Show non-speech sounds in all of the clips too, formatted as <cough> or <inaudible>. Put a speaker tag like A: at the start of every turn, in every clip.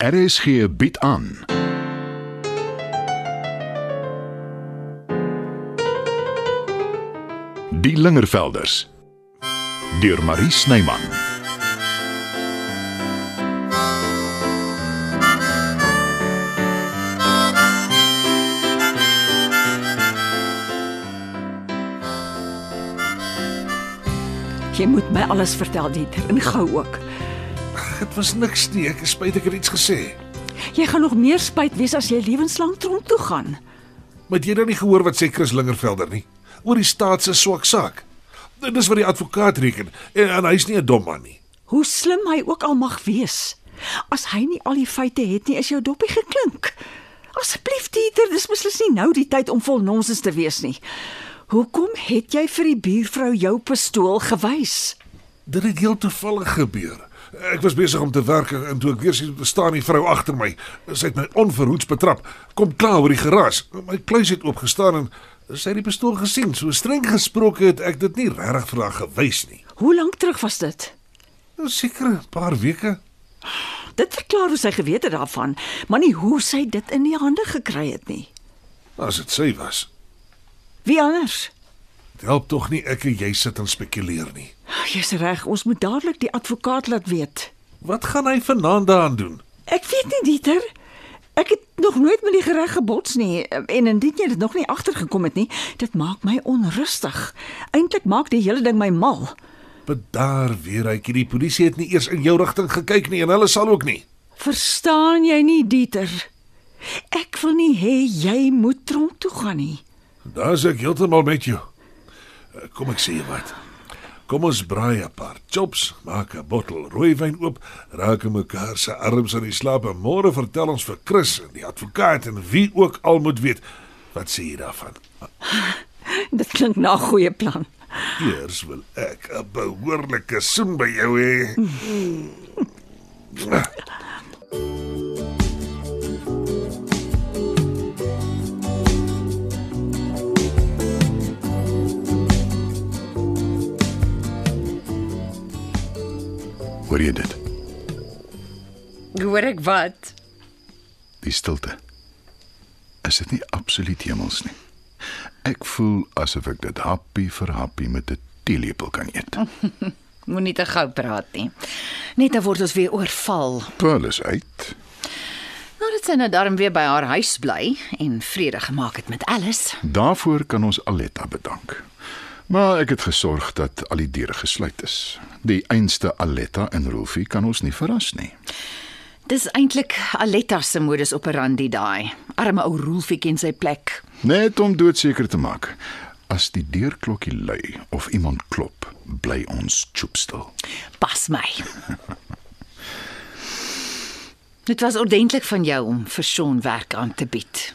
A: RSG bied aan. Die Lingervelders deur Marie Snyman.
B: Jy moet my alles vertel, Dieter, en gou ook.
C: Dit was niks nie. Ek is spyt ek het iets gesê.
B: Jy gaan nog meer spyt wees as jy lewenslang tronk toe gaan.
C: Maar het jy het nie gehoor wat sê Chris Lingervelder nie oor die staat se swak saak. Dit is wat die advokaat reken en, en hy's nie 'n dom man nie.
B: Hoe slim hy ook al mag wees. As hy nie al die feite het nie, is jou doppie geklink. Asseblief, Dieter, dis beslis nie nou die tyd om vol nonsens te wees nie. Hoekom het jy vir die buurvrou jou pistool gewys?
C: Dit het heel toevallig gebeur. Ek was besig om te werk en en toe ek weer sien staan die vrou agter my. Sy het my onverhoeds betrap. Kom klaar oor die geraas. My kluis het oopgestaan en sy het die pistool gesien. So streng gesproke het ek dit nie regtig vir haar gewys nie.
B: Hoe lank terug was dit?
C: Nou seker 'n paar weke.
B: Dit verklaar hoe sy geweet het daarvan, maar nie hoe sy dit in die hande gekry het nie.
C: As dit sy was.
B: Wie anders?
C: Dit help tog nie ek en jy sit en spekuleer nie.
B: Jy's reg, ons moet dadelik die advokaat laat weet.
C: Wat gaan hy vanaand daaraan doen?
B: Ek weet nie Dieter. Ek het nog nooit met die gereg gebots nie en indien jy dit nog nie agtergekom het nie, dit maak my onrustig. Eintlik maak die hele ding my mal.
C: Bedaar weer, hytjie, die polisie het nie eers in jou rigting gekyk nie en hulle sal ook nie.
B: Verstaan jy nie Dieter? Ek wil nie hê jy moet tronk toe gaan nie.
C: Daar's ek heeltemal met jou. Eh, Kom ek sê jou wat. Kom ons braai 'n paar chops, maak 'n bottel rooiwyn oop, raak aan mekaar se arms aan die slaap en môre vertel ons vir Chris en die advokaat en wie ook al moet weet. Wat sê jy daarvan?
B: Dit klink na 'n goeie plan.
C: Eers wil ek 'n behoorlike soen by jou hê.
A: Hoor jy dit?
D: Hoor ek wat?
A: Die stilte. Is dit nie absoluut hemels nie? Ek voel asof ek dit happie vir happie met 'n teelepel kan eet.
D: Moenie te gou praat nie. Net dan word ons weer oorval.
A: Paul is uit.
D: Nadat sy nou darm weer by haar huis bly en vrede gemaak het met alles.
A: Daarvoor kan ons Aletta bedank. Maar ek het gesorg dat al die deure gesluit is. Die einste Aletta en Rolfie kan ons nie verras nie.
D: Dis eintlik Aletta se modus operandi daai. Arme ou Rolfie ken sy plek.
A: Net om doodseker te maak. As die deurklokkie lui of iemand klop, bly ons choopstil.
D: Pas <laughs> my. Dit was ordentlik van jou om vir Sean werk aan te bied.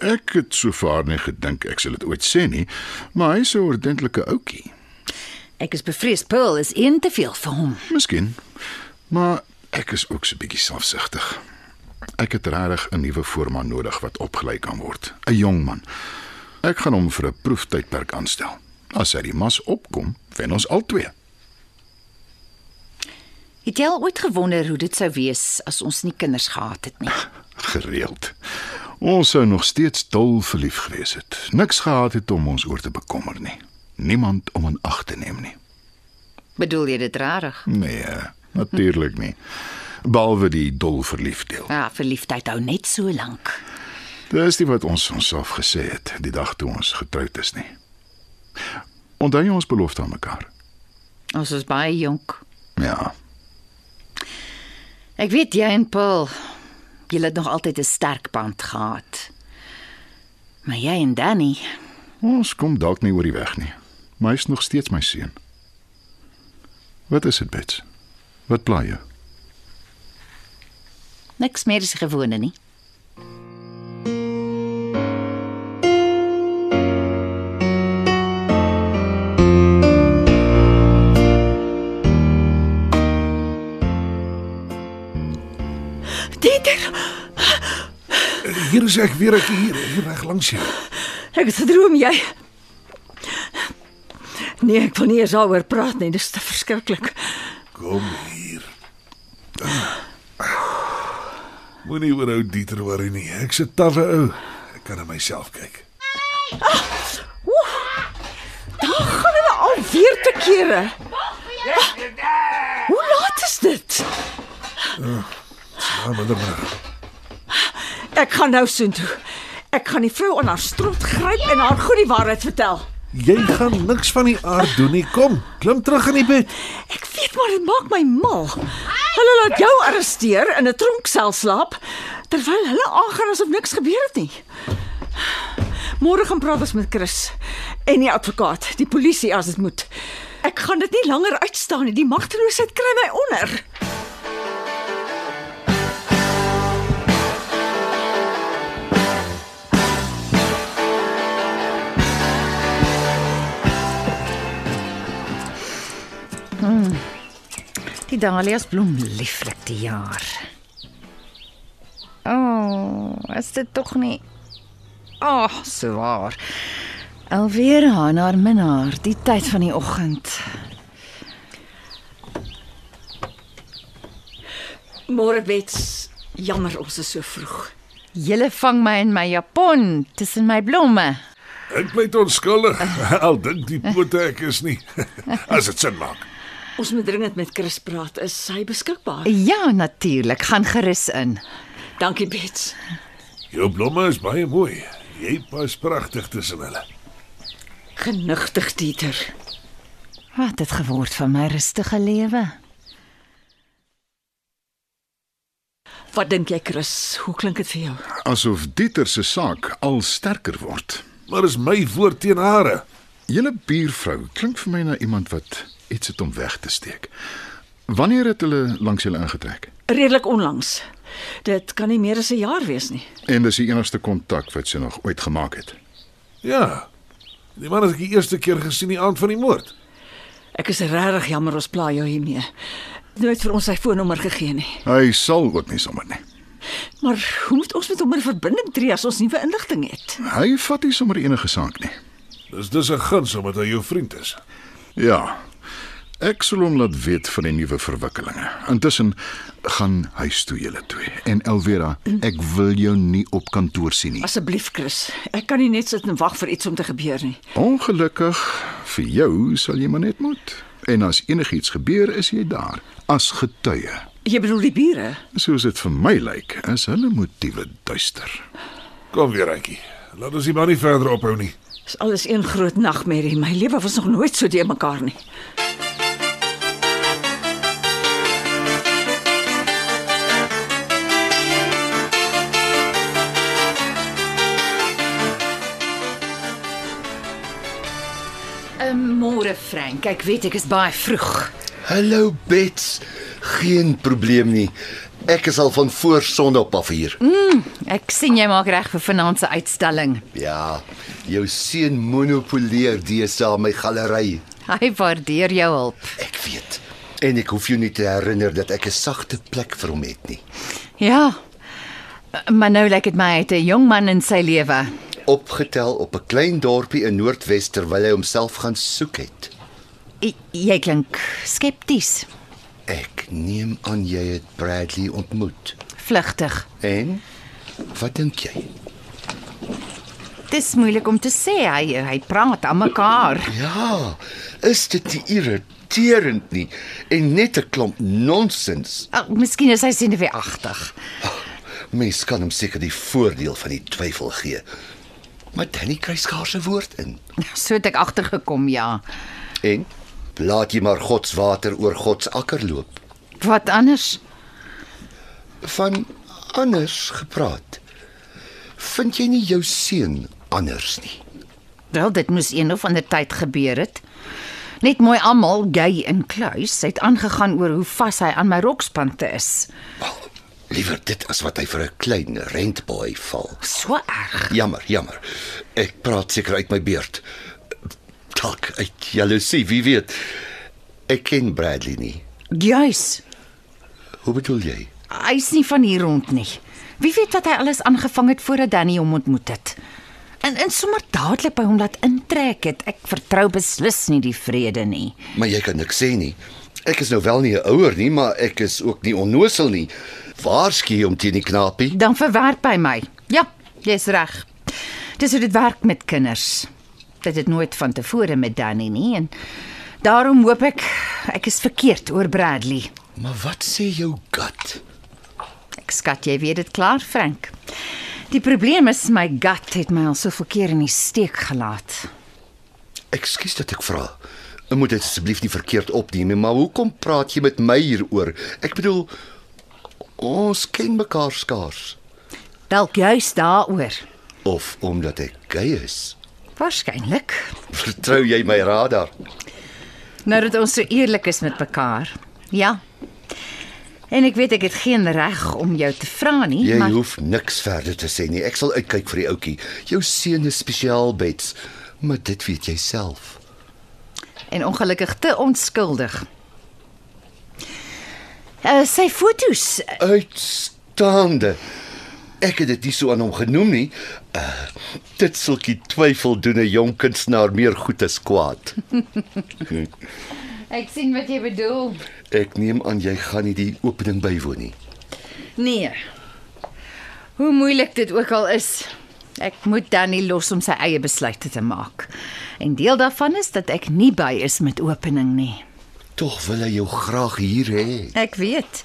A: Ek het sover nie gedink ek sal dit ooit sê nie, maar hy's 'n ordentlike ouetjie.
D: Ek is bevrees Paul is een te veel vir hom.
A: Miskien. Maar ek is ook so 'n bietjie selfsugtig. Ek het regtig 'n nuwe voorman nodig wat opgelei kan word, 'n jong man. Ek gaan hom vir 'n proeftydperk aanstel. As hy die mas opkom, wen ons albei.
D: Het jy al ooit gewonder hoe dit sou wees as ons nie kinders gehad het <laughs> nie?
A: Gereeld. Ons sou nog steeds dol verlief gewees het. Niks gehad het om ons oor te bekommer nie. Niemand om in ag te neem nie.
D: Bedoel jy dit rarig?
A: Nee, natuurlik nie. Behalwe die dol verlief deel.
D: Ja, verliefdheid hou net so lank.
A: Dis nie wat ons onsself gesê het die dag toe ons getroud is nie. Onthou jy ons belofte aan mekaar?
D: Ons is baie jonk.
A: Ja,
D: Ek weet jy en Paul, julle het nog altyd 'n sterk band gehad. Maar jy en Danny,
A: ons kom dalk nie oor die weg nie, maar hy's nog steeds my seun. Wat is dit, Bets? Wat pla jy?
D: niks meer is die gewone nie.
B: Dieter,
C: Hier is ek weer ek hier, hier reg langs jou.
B: ek het gedroom jy Nee, ek wil nie eens daaroor praat nie, dis te verskriklik.
C: Kom hier. Moenie oor ou Dieter worry nie. Ek's 'n tawwe ou. Ek kan na myself kyk.
B: Daar gaan hulle alweer te kere. Hoe laat is dit?
C: Ja, maar dan maar.
B: Ek gaan nou soontoe. Ek gaan die vrou aan haar strot gryp en haar goed die waarheid vertel.
C: Jy gaan niks van die aard doen nie. Kom, klim terug in die bed.
B: Ek weet maar dit maak my mal. Hulle laat jou arresteer in 'n tronksel slaap terwyl hulle aangaan asof niks gebeur het nie. Môre gaan praat ons met Chris en die advokaat, die polisie as dit moet. Ek gaan dit nie langer uitstaan nie. Die magteloosheid kry my onder.
D: Die dahlias bloem lieflik die jaar. O, oh, is dit tog nie? Ag, oh, swaar. Alweer aan haar minnaar die tyd van die oggend.
B: Môre Bets, jammer ons is so vroeg.
D: Julle vang my in my japon tussen my blomme.
C: Ek pleit <laughs> onskuldig. Al dink die pote ek is nie. <laughs> As dit sin maak.
B: Ons moet dringend met Chris praat. Is sy beskikbaar?
D: Ja, natuurlik, gaan gerus in.
B: Dankie Bets.
C: Jou blomme is baie mooi. Jy pas pragtig tussen hulle.
B: Genigtig Dieter.
D: Wat het geword van my rustige lewe?
B: Wat dink jy Chris? Hoe klink dit vir jou?
A: Asof Dieter se saak al sterker word.
C: Maar is my woord teen hare.
A: Julle buurvrou klink vir my na iemand wat iets het om weg te steek. Wanneer het hulle langs julle ingetrek?
B: Redelik onlangs. Dit kan nie meer as 'n jaar wees nie.
A: En dis die enigste kontak wat sy nog ooit gemaak het.
C: Ja. Die man het ek die eerste keer gesien die aand van die moord.
B: Ek is regtig jammer ons pla jou hiermee. Nooit vir ons sy foonnommer gegee nie.
A: Hy sal ook nie sommer nie.
B: Maar hoe moet ons met hom in verbinding tree as ons nuwe inligting het?
A: Hy vat nie sommer enige saak nie.
C: Dis dis 'n guns omdat hy jou vriend is.
A: Ja. Ek sal hom laat weet van die nuwe verwikkelinge. Intussen gaan huis toe julle twee. En Elvera, ek wil jou nie op kantoor sien nie.
B: Asseblief Chris, ek kan nie net sit en wag vir iets om te gebeur nie.
A: Ongelukkig vir jou sal jy maar net moet. En as enigiets gebeur, is jy daar as getuie.
B: Jy bedoel die bure?
A: Soos dit vir my lyk, is hulle motiewe duister.
C: Kom weer, Rykie. Laat ons die man nie verder ophou nie.
B: Dis alles een groot nagmerrie. My lewe was nog nooit so deur mekaar nie.
D: Um, Môre Frank, ek weet ek is baie vroeg.
E: Hallo Bets. Geen probleem nie. Ek is al van voor Sondag af hier.
D: Ek sien jy maak reg vir vanaand se uitstalling.
E: Ja, jou seun monopoleer DSA my galery.
D: Hy waardeer jou hulp.
E: Ek weet. En ek hoef jou nie te herinner dat ek 'n sagte plek vir hom het nie.
D: Ja. Maar nou lyk dit my hy het 'n jong man in sy lewe.
E: Opgetel op 'n klein dorpie in Noordwes terwyl hy homself gaan soek het.
D: J- Jy klink skepties,
E: Ek neem aan jy het Bradley ontmoet.
D: vlugtig.
E: En wat dink jy?
D: Dis moeilik om te sê hy hy praat aan mekaar.
E: Ja, is dit nie irriterend nie en net 'n klomp nonsens?
D: Ag, miskien is hy senuweeagtig.
E: Mens kan hom seker die voordeel van die twyfel gee. Maar Danny kry skaars 'n woord in.
D: So het ek agtergekom, ja.
E: En laat jy maar God se water oor God se akker loop.
D: Wat anders?
E: Van anders gepraat. Vind jy nie jou seun anders nie?
D: Wel, dit moes een of ander tyd gebeur het. Net mooi almal, jy in kluis, het aangegaan oor hoe vas hy aan my rokspante is.
E: Wel, liewer dit as wat hy vir 'n klein rentboy val.
D: So erg.
E: Jammer, jammer. Ek praat seker uit my beurt. Dalk uit jaloesie, wie weet. Ek ken Bradley nie.
D: Juis.
E: Hoe bedoel jy?
D: Hy's nie van hier rond nie. Wie weet wat hy alles aangevang het voordat Danny hom ontmoet het. En en sommer dadelik by hom laat intrek het. Ek vertrou beslis nie die vrede nie.
E: Maar jy kan niks sê nie. Ek is nou wel nie 'n ouer nie, maar ek is ook nie onnosel nie. Waarskynlik om teen die knapie.
D: Dan verwerp hy my. Ja, jy's reg. Dis hoe dit werk met kinders. Dit het nooit van tevore met Danny nie en daarom hoop ek ek is verkeerd oor Bradley.
E: Maar wat sê jou gut?
D: Ek skat jy weet dit klaar, Frank. Die probleem is my gut het my al soveel keer in die steek gelaat.
E: Ekskuus dat ek vra. Ek moet dit asseblief nie verkeerd opneem nie, maar hoekom praat jy met my hieroor? Ek bedoel ons ken mekaar skaars
D: Dalk juis daaroor.
E: of omdat ek gay is.
D: Waarskynlik.
E: Vertrou jy my radar?
D: Nou dat ons so eerlik is met mekaar. Ja. En ek weet ek het geen reg om jou te vra nie,
E: Jy
D: Nee, maar
E: hoef niks verder te sê nie. Ek sal uitkyk vir die ouetjie. Jou seun is spesiaal bets, maar dit weet jy self.
D: en ongelukkig te onskuldig. Uh, sy fotos
E: Uitstaande. Ek het dit nie so aan hom genoem nie. Uh, dit sulkie twyfel doen 'n jong kunstenaar meer goed as kwaad.
D: Ek sien wat jy bedoel.
E: Ek neem aan jy gaan nie die opening bywoon nie.
D: Nee. Hoe moeilik dit ook al is, ek moet Danny los om sy eie besluite te maak. En deel daarvan is dat ek nie by is met opening nie.
E: Tog wil hy jou graag hier hê.
D: Ek weet.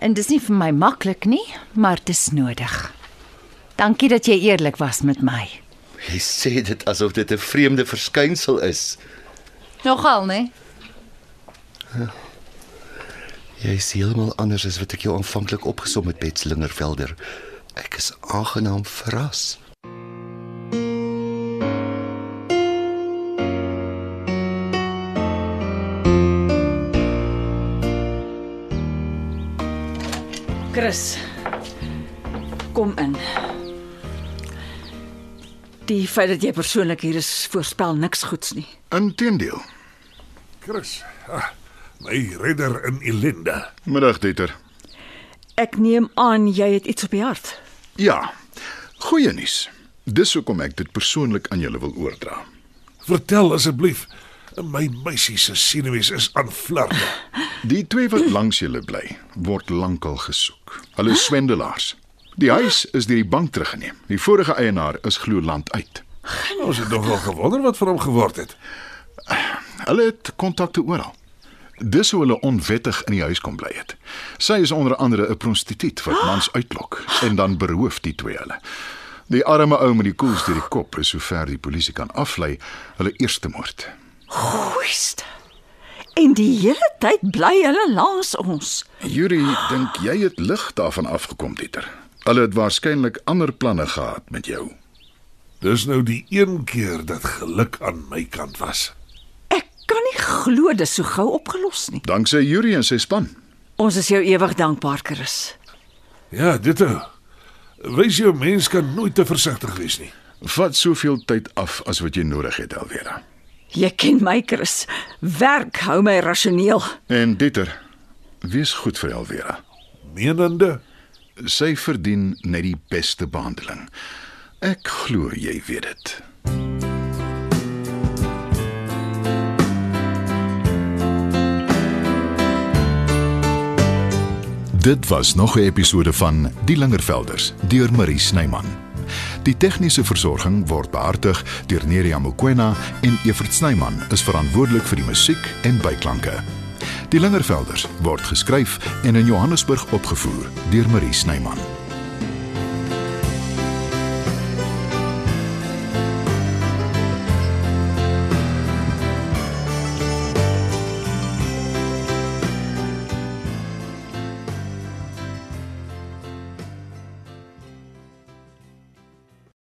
D: En dis nie vir my maklik nie, maar dis nodig. Dankie dat jy eerlik was met my.
E: Jy sê dit asof dit 'n vreemde verskynsel is.
D: Nogal, né?
E: Jy is heeltemal anders as wat ek jou aanvanklik opgesom het, Betslingervelder. Ek is aangenaam verras.
B: Chris. Kom in. Die feit dat jy persoonlik hier is, voorspel niks goeds nie.
A: Inteendeel.
C: Chris, ah, my redder in ellende.
A: Middag, Dieter.
B: Ek neem aan jy het iets op die hart.
A: Ja. Goeie nuus. Dis hoekom ek dit persoonlik aan julle wil oordra.
C: Vertel asseblief. My meisie se senuwees is aan flarde.
A: Die twee wat langs julle bly, word lankal gesoek. Hulle is swendelaars. Die huis is deur die bank teruggeneem. Die vorige eienaar is glo land uit.
C: Ons het nogal gewonder wat van hom geword het.
A: Hulle het kontakte oral. Dis hoe hulle onwettig in die huis kom bly het. Sy is onder andere 'n prostituut wat mans uitlok en dan beroof die twee hulle. Die arme ou met die koels deur die kop is sover die polisie kan aflei, hulle eerste moord.
B: Goeiste. En die hele tyd bly hulle langs ons.
A: Yuri, dink jy het lig daarvan afgekom, Dieter? Hulle het waarskynlik ander planne gehad met jou.
C: Dis nou die een keer dat geluk aan my kant was.
B: Ek kan nie glo dis so gou opgelos nie.
A: Danksy Yuri en sy span.
B: Ons is jou ewig dankbaar, Chris.
C: Ja, dit ou. Wys jou mens kan nooit te versigtig wees nie.
A: Vat soveel tyd af as wat jy nodig het, Alvera.
B: Jy ken my, Chris. Werk hou my rasioneel.
A: En Dieter, wees goed vir Alvera.
C: Menende,
A: Sy verdien net die beste behandeling. Ek glo jy weet dit. Dit was nog 'n episode van Die Lingervelders deur Marie Snyman. Die tegniese versorging word behartig deur Neriya Mukwena en Evert Snyman is verantwoordelik vir die musiek en byklanke. Die Lingervelders word geskryf en in Johannesburg opgevoer deur Marie Snyman.